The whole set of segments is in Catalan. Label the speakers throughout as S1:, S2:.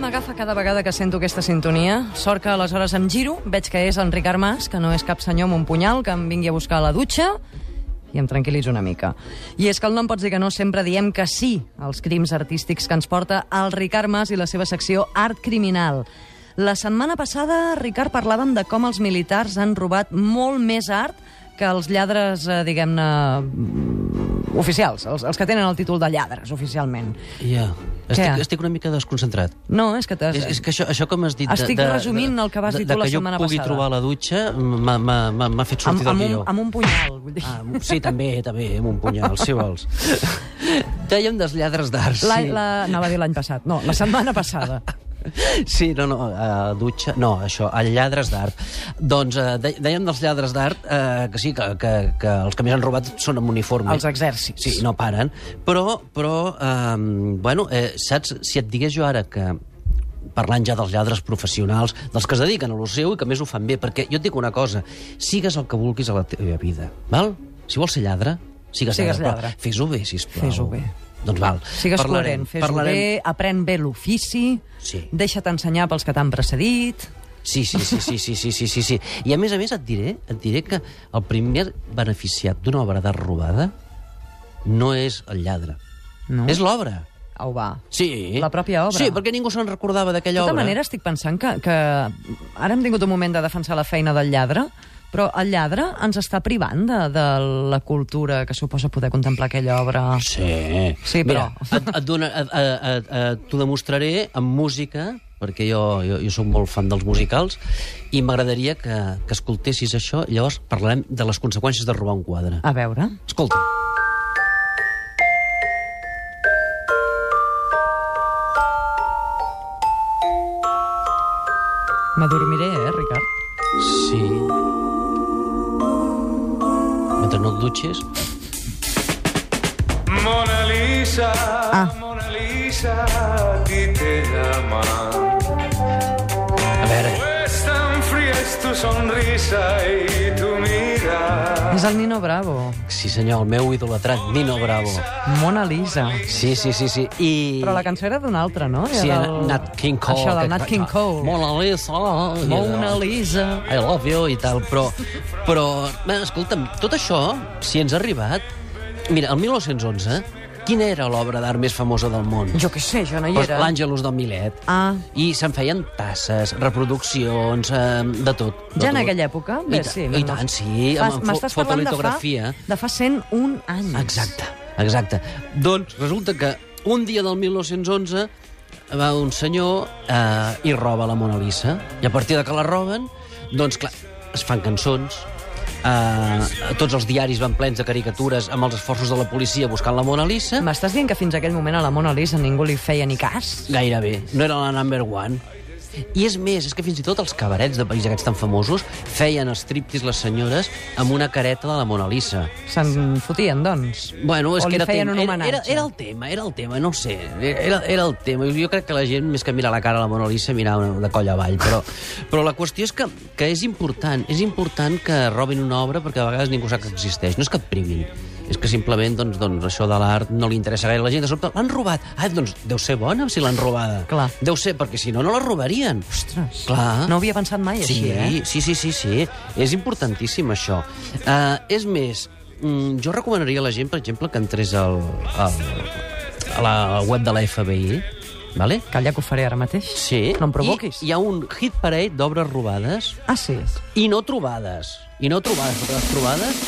S1: m'agafa cada vegada que sento aquesta sintonia. Sort que aleshores em giro, veig que és Enric Armas, que no és cap senyor amb un punyal, que em vingui a buscar a la dutxa i em tranquil·litzo una mica. I és que el no em pots dir que no, sempre diem que sí als crims artístics que ens porta el Ricard Mas i la seva secció Art Criminal. La setmana passada, Ricard, parlàvem de com els militars han robat molt més art que els lladres, eh, diguem-ne, mm, oficials, els, els que tenen el títol de lladres, oficialment.
S2: Ja.
S1: Què?
S2: Estic, estic una mica desconcentrat.
S1: No, és que... t'has-
S2: És, és que això, això com has dit... de-
S1: Estic
S2: de,
S1: resumint el que vas dir
S2: de,
S1: tu la
S2: de,
S1: setmana
S2: Que jo pugui
S1: passada.
S2: trobar a la dutxa m'ha- m'ha m'ha- m'ha fet
S1: amb,
S2: sortir
S1: amb,
S2: del
S1: un,
S2: guió.
S1: amb un punyal, vull dir.
S2: Ah, sí, també, també, amb un punyal, si vols. Dèiem dels lladres d'art,
S1: La,
S2: sí.
S1: la, anava a dir l'any passat. No, la setmana passada.
S2: Sí, no, no, uh, dutxa... No, això, el lladres d'art. Doncs uh, dèiem dels lladres d'art uh, que sí, que, que, que els que més han robat són amb uniforme.
S1: Els exèrcits.
S2: Sí, no paren. Però, però um, bueno, eh, saps, si et digués jo ara que parlant ja dels lladres professionals, dels que es dediquen a lo seu i que a més ho fan bé, perquè jo et dic una cosa, sigues el que vulguis a la teva vida, val? Si vols ser lladre, sigues,
S1: Sigues lladre.
S2: però Fes-ho bé, sisplau.
S1: Fes-ho bé.
S2: Doncs val.
S1: Sigues coherent,
S2: parlarem,
S1: fes-ho
S2: parlarem-
S1: bé, aprèn bé l'ofici,
S2: Sí.
S1: deixa't ensenyar pels que t'han precedit...
S2: Sí, sí, sí, sí, sí, sí, sí, sí, sí. I a més a més et diré, et diré que el primer beneficiat d'una obra d'art robada no és el lladre.
S1: No?
S2: És l'obra.
S1: Au, va.
S2: Sí.
S1: La pròpia obra.
S2: Sí, perquè ningú se'n recordava
S1: De
S2: d'aquella
S1: tota
S2: obra.
S1: manera, estic pensant que, que ara hem tingut un moment de defensar la feina del lladre, però el lladre ens està privant de, de la cultura que suposa poder contemplar aquella obra.
S2: Sí.
S1: Sí,
S2: Mira,
S1: però-
S2: et, et, dona- et, et, et, et t'ho demostraré amb música, perquè jo, jo, jo sóc molt fan dels musicals, i m'agradaria que, que escoltessis això, i llavors parlarem de les conseqüències de robar un quadre.
S1: A veure...
S2: Escolta.
S1: M'adormiré, eh, Ricard?
S2: Sí. Mentre no et dutxis...
S3: Mona Lisa,
S1: Ah.
S3: Mona Lisa, a ti te llaman.
S2: A veure...
S3: Pues tan fría es tu sonrisa y tu mirada.
S1: És el Nino Bravo,
S2: Sí, senyor, el meu idolatrat, Nino Bravo.
S1: Mona Lisa...
S2: Sí, sí, sí, sí. I...
S1: Però la cançó era d'una altra, no? Era
S2: Sí,
S1: del-
S2: Nat King Cole.
S1: Això, del
S2: aquest-
S1: Nat King Cole.
S2: Mona Lisa.
S1: Mona Lisa.
S2: I love you i tal, però... Però, bé, escolta'm, tot això, si ens ha arribat... Mira, el 1911, quina era l'obra d'art més famosa del món?
S1: Jo què sé, jo no hi
S2: Doncs
S1: era.
S2: L'Àngelus del Milet.
S1: Ah.
S2: I se'n feien tasses, reproduccions, eh, de tot. De
S1: Ja en
S2: tot.
S1: aquella època?
S2: I, ta- I tant, sí.
S1: Fas-
S2: amb fo-
S1: M'estàs parlant de fa,
S2: fotolitografia.
S1: de fa 101 anys.
S2: Exacte, exacte. Doncs resulta que un dia del 1911 va un senyor eh, i roba la Mona Lisa. I a partir de que la roben, doncs clar, es fan cançons, eh, tots els diaris van plens de caricatures amb els esforços de la policia buscant la Mona Lisa.
S1: M'estàs dient que fins aquell moment a la Mona Lisa ningú li feia ni cas?
S2: Gairebé, no era la number one. I és més, és que fins i tot els cabarets de París aquests tan famosos feien striptis les senyores amb una careta de la Mona Lisa.
S1: Se'n fotien, doncs?
S2: Bueno, és
S1: o
S2: que
S1: li
S2: era,
S1: feien
S2: tema,
S1: un
S2: era,
S1: homenatge?
S2: era, era el tema, era el tema, no ho sé, era, era el tema. Jo crec que la gent, més que mirar la cara a la Mona Lisa, mirava de coll avall, però, però la qüestió és que, que és important, és important que robin una obra perquè a vegades ningú sap que existeix, no és que et privin, és que simplement doncs, doncs, això de l'art no li interessa gaire a la gent, de sobte l'han robat, ah, doncs deu ser bona si l'han robada,
S1: Clar.
S2: deu ser, perquè si no, no la robarien.
S1: Ostres,
S2: Clar.
S1: no ho havia pensat mai
S2: Sí,
S1: així, eh?
S2: sí, sí, sí, sí. És importantíssim, això. Uh, és més, mm, jo recomanaria a la gent, per exemple, que entrés al, al, a la web de la FBI, vale?
S1: Calla que ho faré ara mateix.
S2: Sí.
S1: No em provoquis.
S2: I hi ha un hit parade d'obres robades
S1: Ah, sí?
S2: i no trobades. I no trobades, perquè les trobades...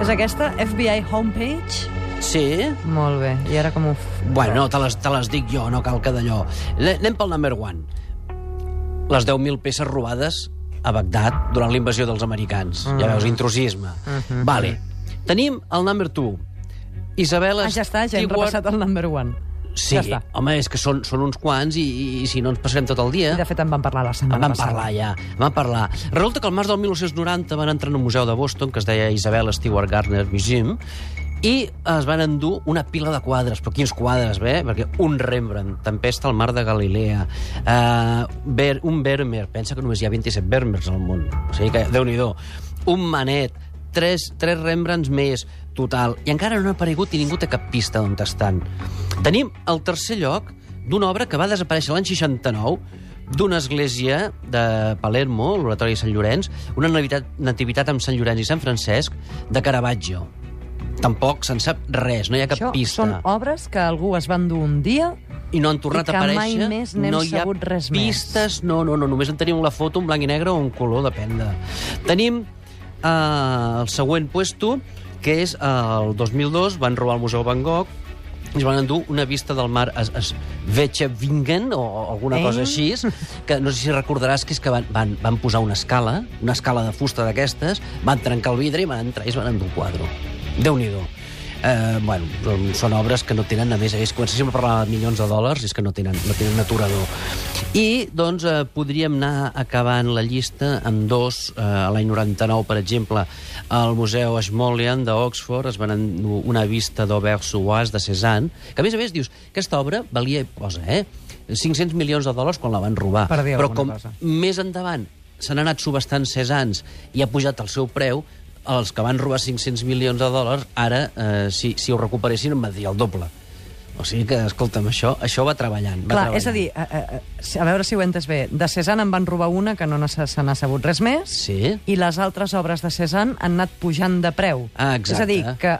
S1: És aquesta? FBI Homepage?
S2: Sí.
S1: Molt bé. I ara com ho... f-
S2: Bueno, no, te les, te les dic jo, no cal que d'allò. Le- Anem pel number one. Les 10.000 peces robades a Bagdad durant la invasió dels americans. Mm. Ja veus, intrusisme. Mm -hmm. Vale. Tenim el number two. Isabel
S1: Ah, ja està, ja hem
S2: Stewart-
S1: repassat el number one.
S2: Sí,
S1: Ja està.
S2: home, és que són, són uns quants i, i, i si no ens passarem tot el dia...
S1: I de fet en vam parlar la
S2: En
S1: setmana
S2: van
S1: passada.
S2: parlar, ja. En van parlar. Resulta que el març del 1990 van entrar en un museu de Boston que es deia Isabel Stewart Gardner Museum i es van endur una pila de quadres. Però quins quadres, bé? Perquè un Rembrandt, Tempesta al mar de Galilea, eh, Ver, un Vermeer, pensa que només hi ha 27 Vermeers al món. O sigui que, déu nhi Un Manet, tres, tres Rembrandts més, total. I encara no ha aparegut i ningú té cap pista d'on estan. Tenim el tercer lloc, d'una obra que va desaparèixer l'any 69 d'una església de Palermo, l'oratori de Sant Llorenç, una nativitat, nativitat amb Sant Llorenç i Sant Francesc, de Caravaggio. Tampoc se'n sap res, no hi ha cap
S1: Això
S2: pista.
S1: són obres que algú es va endur un dia
S2: I no han tornat
S1: i que
S2: a
S1: mai
S2: aparèixer.
S1: més n'hem
S2: no hi ha
S1: sabut res més.
S2: pistes, no, no, no, només en tenim la foto en blanc i negre o en color, depèn de... Tenim eh, el següent puesto, que és eh, el 2002, van robar el Museu Van Gogh, ens van endur una vista del mar a, a Vingen o alguna
S1: Eh?
S2: cosa així, que no sé si recordaràs que és que van, van, van posar una escala, una escala de fusta d'aquestes, van trencar el vidre i van entrar i es van endur el quadro. Déu-n'hi-do. Eh, bueno, doncs són obres que no tenen, a més a més, quan sempre parlar de milions de dòlars, és que no tenen, no tenen aturador. I, doncs, eh, podríem anar acabant la llista amb dos. Eh, a l'any 99, per exemple, al Museu Ashmolean d'Oxford es van endur una vista d'Aubert Suas de Cézanne, que, a més a més, dius, aquesta obra valia, posa, eh? 500 milions de dòlars quan la van robar.
S1: Per dir
S2: Però
S1: alguna
S2: com
S1: cosa.
S2: més endavant se n'ha anat subestant 6 anys i ha pujat el seu preu, els que van robar 500 milions de dòlars, ara, eh, si, si ho recuperessin, em vendria el doble. O sigui que, escolta'm, això, això va treballant. Va
S1: Clar,
S2: treballant.
S1: és a dir, a, a, a veure si ho entes bé, de Cézanne en van robar una que no n'ha- se n'ha sabut res més,
S2: Sí.
S1: i les altres obres de Cézanne han anat pujant de preu.
S2: Ah, exacte.
S1: És a dir, que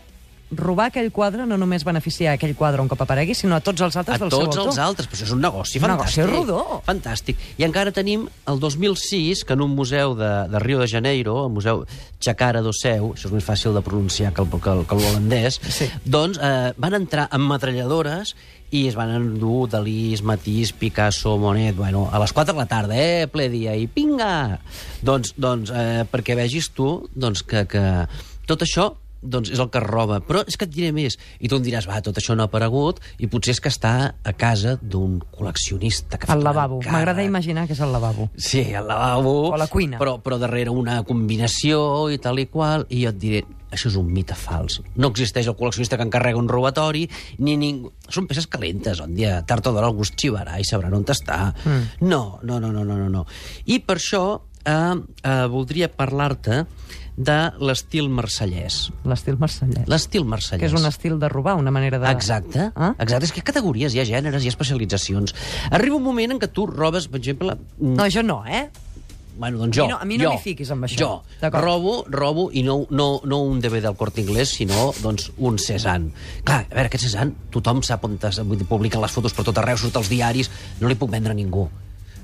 S1: robar aquell quadre no només beneficia aquell quadre un cop aparegui, sinó a tots els altres
S2: A
S1: del
S2: tots
S1: seu autor.
S2: els altres, però això és un negoci
S1: Un
S2: fantàstic.
S1: negoci rodó.
S2: Fantàstic. I encara tenim el 2006, que en un museu de, de Rio de Janeiro, el museu Chacara do Seu, això és més fàcil de pronunciar que el- que el- que l'holandès,
S1: Sí.
S2: doncs eh, van entrar amb metralladores i es van endur Dalís, Matís, Picasso, Monet, bueno, a les 4 de la tarda, eh, ple dia, i pinga! Doncs, doncs eh, perquè vegis tu doncs, que, que tot això doncs és el que es roba. Però és que et diré més. I tu em diràs, va, tot això no ha aparegut i potser és que està a casa d'un col·leccionista. Que ha fet
S1: Al
S2: un
S1: lavabo.
S2: encàrrec.
S1: M'agrada imaginar que és el lavabo.
S2: Sí, al lavabo.
S1: O la cuina.
S2: Però, però darrere una combinació i tal i qual, i jo et diré, això és un mite fals. No existeix el col·leccionista que encarrega un robatori, ni ningú... Són peces calentes, on dia, tard o d'hora algú es xivarà i sabran on està. Mm. No, no, no, no, no, no, no. I per això eh, eh, voldria parlar-te de l'estil marsellès.
S1: L'estil marsellès.
S2: L'estil marsellès.
S1: Que és un estil de robar, una manera de...
S2: Exacte.
S1: Ah?
S2: Ah? Exacte. És que hi ha categories, hi ha gèneres, hi ha especialitzacions. Arriba un moment en què tu robes, per exemple... mm,
S1: No, jo no, eh?
S2: Bueno, doncs
S1: A
S2: jo.
S1: mi no- a mi no
S2: jo,
S1: m'hi fiquis amb això.
S2: Jo.
S1: D'acord.
S2: Robo, robo, i no, no, no un DVD del Corte Inglés, sinó doncs, un Cézanne. Clar, a veure, aquest Cézanne, tothom sap on es, vull dir, publiquen les fotos per tot arreu, surt als diaris, no li puc vendre a ningú.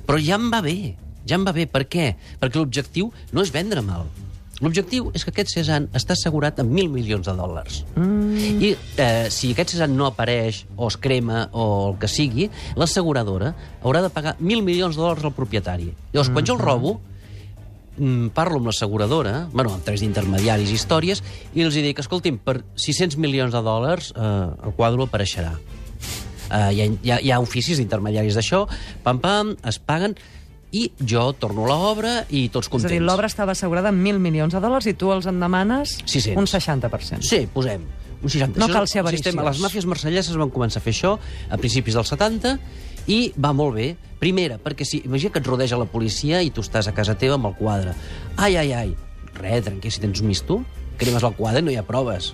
S2: Però ja em va bé, ja em va bé. Per què? Perquè l'objectiu no és vendre mal. L'objectiu és que aquest Cézanne està assegurat amb mil milions de dòlars. Mm. I eh, si aquest Cézanne no apareix, o es crema, o el que sigui, l'asseguradora haurà de pagar mil milions de dòlars al propietari. Llavors, quan jo el robo, mm, parlo amb l'asseguradora, bueno, a través d'intermediaris i històries, i els hi dic, escolti'm, per 600 milions de dòlars eh, el quadro apareixerà. Eh, hi, ha, hi, ha, hi ha oficis d'intermediaris d'això, pam, pam, es paguen, i jo torno a l'obra i tots
S1: És
S2: contents.
S1: a dir, l'obra estava assegurada amb mil milions de dòlars i tu els en demanes
S2: 600.
S1: un 60%.
S2: Sí, posem. Un 60.
S1: No
S2: Això és
S1: cal ser
S2: el sistema.
S1: avariciós.
S2: Les màfies marselleses van començar a fer això a principis dels 70 i va molt bé. Primera, perquè si, imagina que et rodeja la policia i tu estàs a casa teva amb el quadre. Ai, ai, ai. Re, tranquil, si tens un misto, cremes el quadre i no hi ha proves.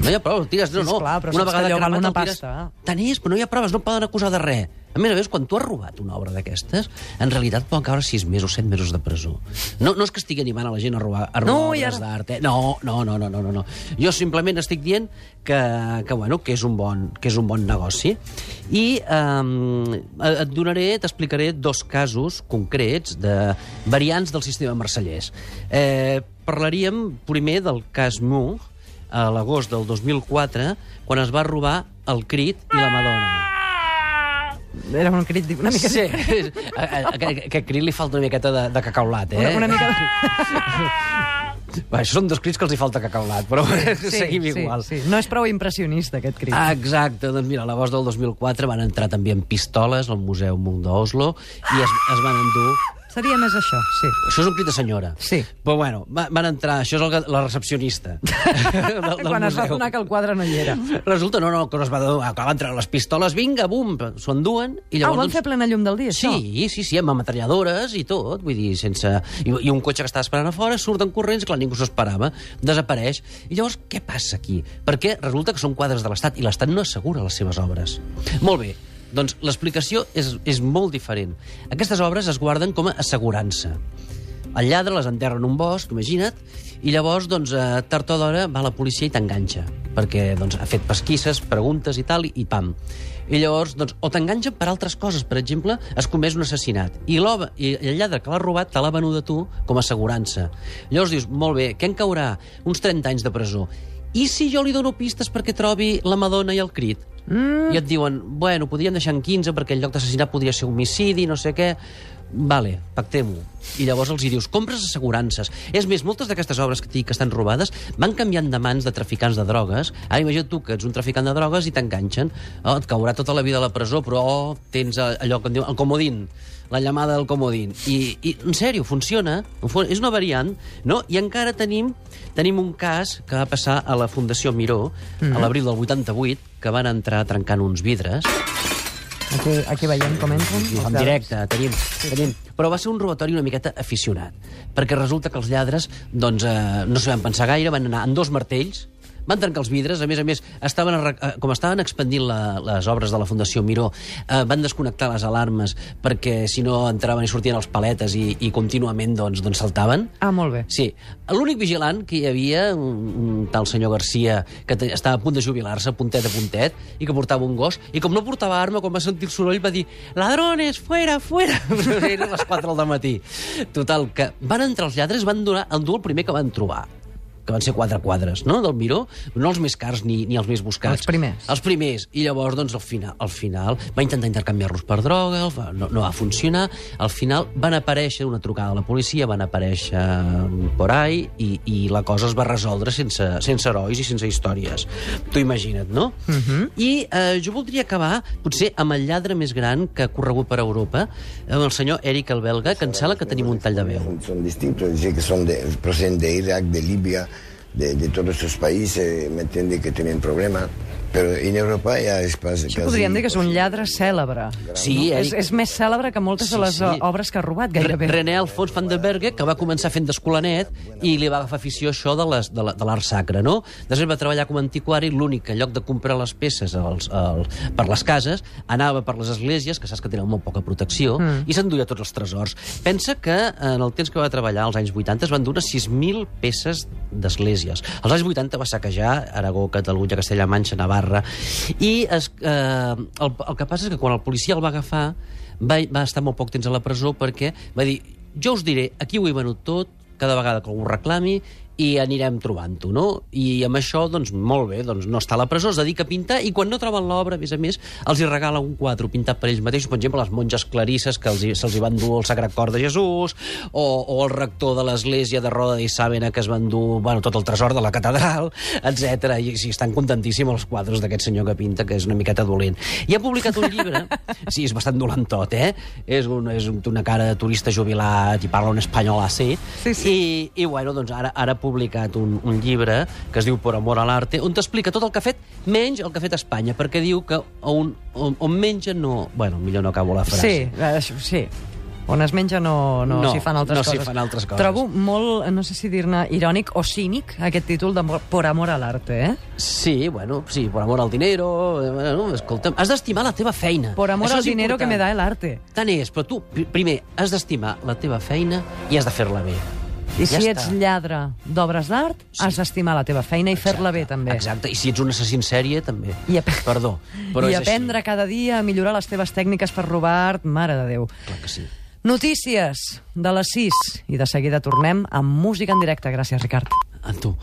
S2: No hi ha proves, tires... No, no.
S1: Esclar, però saps que allò val
S2: cremat
S1: una
S2: el tires-
S1: pasta.
S2: Tant és, però no hi ha proves, no et poden acusar de res. A més a més, quan tu has robat una obra d'aquestes, en realitat poden caure 6 mesos, 7 mesos de presó. No, no és que estigui animant a la gent a robar, a robar
S1: No, i
S2: obres
S1: ara-
S2: d'art, eh? No, no, no, no, no, no, no. Jo simplement estic dient que, que, bueno, que, és, un bon, que és un bon negoci. I um, et donaré, t'explicaré dos casos concrets de variants del sistema marsellès. Eh, parlaríem primer del cas Moore, a l'agost del 2004, quan es va robar el crit i la Madonna.
S1: Era un crit una mica...
S2: Sí, a, a, a, aquest crit li falta una miqueta de, de cacaulat, eh?
S1: Una, una mica... de-
S2: Va, això són dos crits que els hi falta cacaulat, però sí, seguim igual.
S1: Sí, sí. No és prou impressionista, aquest crit.
S2: Ah, Exacte, doncs mira, a l'agost del 2004 van entrar també amb pistoles al Museu Munt d'Oslo i es, es van endur...
S1: Seria més això, sí.
S2: Això és un crit de senyora.
S1: Sí.
S2: Però bueno, va- van entrar... Això és el, que- la recepcionista del, del
S1: Quan es va
S2: museu.
S1: adonar que el quadre no hi era.
S2: Resulta, no, no, que no es va adonar, que van treure les pistoles, vinga, bum, s'ho enduen,
S1: Ah, ho
S2: i llavors...
S1: van fer a plena llum del dia, això?
S2: doncs- Sí, sí, sí, amb ametralladores i tot, vull dir, sense... I, i un cotxe que estava esperant a fora, surten corrents, clar, ningú s'ho esperava, desapareix. I llavors, què passa aquí? Perquè resulta que són quadres de l'Estat i l'Estat no assegura les seves obres. Molt bé, Doncs l'explicació és, és molt diferent. Aquestes obres es guarden com a assegurança. El lladre les enterra en un bosc, imagina't, i llavors, doncs, eh, tard o d'hora, va la policia i t'enganxa, perquè doncs, ha fet pesquisses, preguntes i tal, i, i pam. I llavors, doncs, o t'enganxa per altres coses, per exemple, has comès un assassinat, i, l'home- i el lladre que l'ha robat te l'ha venut a tu com a assegurança. Llavors dius, molt bé, què en caurà? Uns 30 anys de presó. I si jo li dono pistes perquè trobi la Madonna i el crit? Mm. I et diuen, bueno, podríem deixar en 15 perquè el lloc d'assassinat podria ser homicidi, no sé què... Vale, pactem-ho. I llavors els hi dius, compres assegurances. És més, moltes d'aquestes obres que et dic que estan robades van canviant de mans de traficants de drogues. Ara imagina't tu que ets un traficant de drogues i t'enganxen. Oh, et caurà tota la vida a la presó, però oh, tens eh, allò que en diuen el comodín la llamada del comodín. I, i en sèrio, funciona. En fons, És una variant, no? I encara tenim, tenim un cas que va passar a la Fundació Miró, mm. a l'abril del 88, que van entrar trencant uns vidres.
S1: Aquí, aquí veiem com entren. els
S2: En
S1: lladres.
S2: directe, tenim, tenim. Però va ser un robatori una miqueta aficionat, perquè resulta que els lladres doncs, eh, no s'hi van pensar gaire, van anar amb dos martells, van trencar els vidres, a més a més, estaven, arre- eh, com estaven expandint la, les obres de la Fundació Miró, eh, van desconnectar les alarmes perquè si no entraven i sortien els paletes i, i contínuament doncs, doncs saltaven.
S1: Ah, molt bé.
S2: Sí. L'únic vigilant que hi havia, un, un tal senyor Garcia que te- estava a punt de jubilar-se, puntet a puntet, i que portava un gos, i com no portava arma, quan va sentir el soroll va dir «Ladrones, fuera, fuera!» Eren les 4 del matí. Total, que van entrar els lladres, van donar, endur el primer que van trobar que van ser quatre quadres, no?, del Miró. No els més cars ni, ni els més buscats.
S1: Els primers.
S2: Els primers. I llavors, doncs, al final, al final va intentar intercanviar-los per droga, el va- no, no va funcionar. Al final van aparèixer una trucada a la policia, van aparèixer mm, por ahí, i, i la cosa es va resoldre sense, sense herois i sense històries. Tu imagina't, no? Uh -huh. I eh, jo voldria acabar, potser, amb el lladre més gran que ha corregut per Europa, amb el senyor Eric el belga, que em sembla que tenim un tall de veu.
S4: Son, son distintos, dice que son de, proceden de Irak, de Libia, de, de todos esos países, ¿me entiende? Que tienen problemas. Pero en Europa ya es casi...
S1: Això podríem dir que és un lladre cèlebre.
S2: Sí,
S1: És,
S2: Eric-
S1: és més cèlebre que moltes
S2: Sí,
S1: de les
S2: sí.
S1: o- obres que ha robat, gairebé.
S2: Re- René Alfons van den Berge, que va començar fent d'escolanet i li va agafar afició a això de les- de la- de l'art sacre, no? Després va treballar com a antiquari, l'únic que en lloc de comprar les peces als, als, per les cases, anava per les esglésies, que saps que tenen molt poca protecció, mm. i s'enduia tots els tresors. Pensa que en el temps que va treballar, als anys 80, es van donar 6.000 peces d'esglésies. Als anys 80 va saquejar Aragó, Catalunya, Castella-Manxa, Navarra, i es, eh, el, el que passa és que quan el policia el va agafar, va, va estar molt poc temps a la presó perquè va dir, jo us diré, aquí ho he venut tot, cada vegada que algú ho reclami, i anirem trobant-ho, no? I amb això, doncs, molt bé, doncs no està a la presó, es dedica a pintar, i quan no troben l'obra, a més a més, els hi regala un quadre pintat per ells mateixos, per exemple, les monges clarisses que els hi- se'ls hi van dur el Sagrat Cor de Jesús, o, o el rector de l'església de Roda i Sàbena que es van dur, bueno, tot el tresor de la catedral, etc. I, sí, estan contentíssims els quadres d'aquest senyor que pinta, que és una miqueta dolent. I ha publicat un llibre, sí, és bastant dolent tot, eh? És, un, és un- una cara de turista jubilat i parla un espanyol així,
S1: Sí, sí.
S2: i, i bueno, doncs ara, ara ha publicat un, un llibre que es diu Por amor a l'arte, on t'explica tot el que ha fet, menys el que ha fet a Espanya, perquè diu que on, on, on menja no... Bueno, millor no acabo la frase.
S1: Sí, eh, això, sí. On es menja no, no,
S2: No,
S1: s'hi fan altres
S2: no s'hi
S1: coses.
S2: fan altres coses.
S1: Trobo molt, no sé si dir-ne irònic o cínic, aquest títol de Por amor a l'arte, eh?
S2: Sí, bueno, sí, por amor al dinero... eh, Bueno, escolta'm, has d'estimar la teva feina.
S1: Por amor
S2: Això
S1: al
S2: és
S1: dinero que
S2: important.
S1: me da el arte.
S2: Tant és, però tu, pri- primer, has d'estimar la teva feina i has de fer-la bé.
S1: I
S2: ja
S1: si
S2: està.
S1: ets lladre d'obres d'art, has d'estimar la teva feina i fer-la bé, també.
S2: Exacte, i si ets un assassí en sèrie, també.
S1: I ap-
S2: Perdó, però
S1: I
S2: és
S1: aprendre cada dia a millorar les teves tècniques per robar art, mare de Déu.
S2: així. Clar que sí.
S1: Notícies de les 6 i de seguida tornem amb música en directe. Gràcies, Ricard.
S2: En tu.